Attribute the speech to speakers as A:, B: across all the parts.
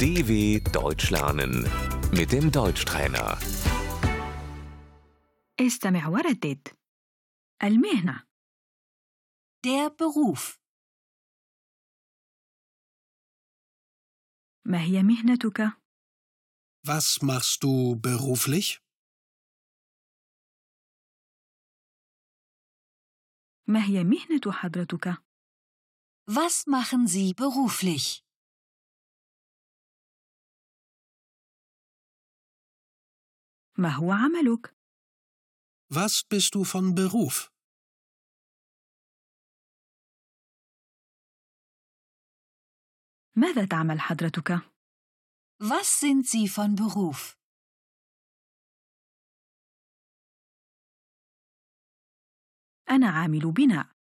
A: DW Deutsch lernen mit dem Deutschtrainer.
B: استمع وردد المهنة
C: Der Beruf.
B: ما هي مهنتك؟
D: Was machst du beruflich?
B: ما هي مهنة حضرتك؟
C: Was machen Sie beruflich?
B: ما هو عملك؟
D: Was bist du von Beruf?
B: ماذا تعمل حضرتك؟
C: Was sind Sie von Beruf?
B: أنا عامل بناء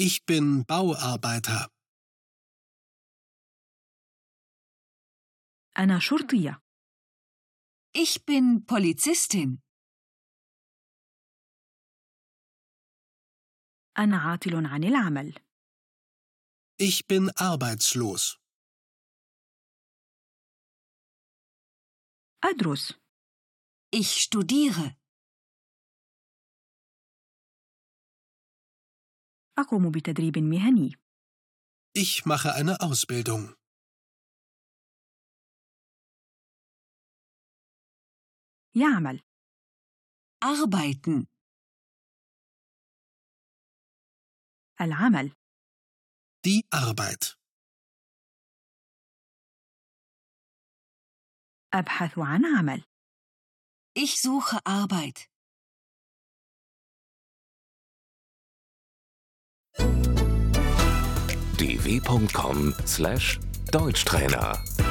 D: Ich bin Bauarbeiter.
B: أنا شرطية
C: Ich bin Polizistin.
B: أنا عاطل عن العمل
D: Ich bin arbeitslos.
B: أدرس
C: Ich studiere.
B: أقوم بتدريب مهني
D: Ich mache eine Ausbildung.
B: يعمل
C: Arbeiten.
B: العمل
D: Die Arbeit.
B: أبحث عن عمل
C: Ich suche Arbeit.
A: dw.com/deutschtrainer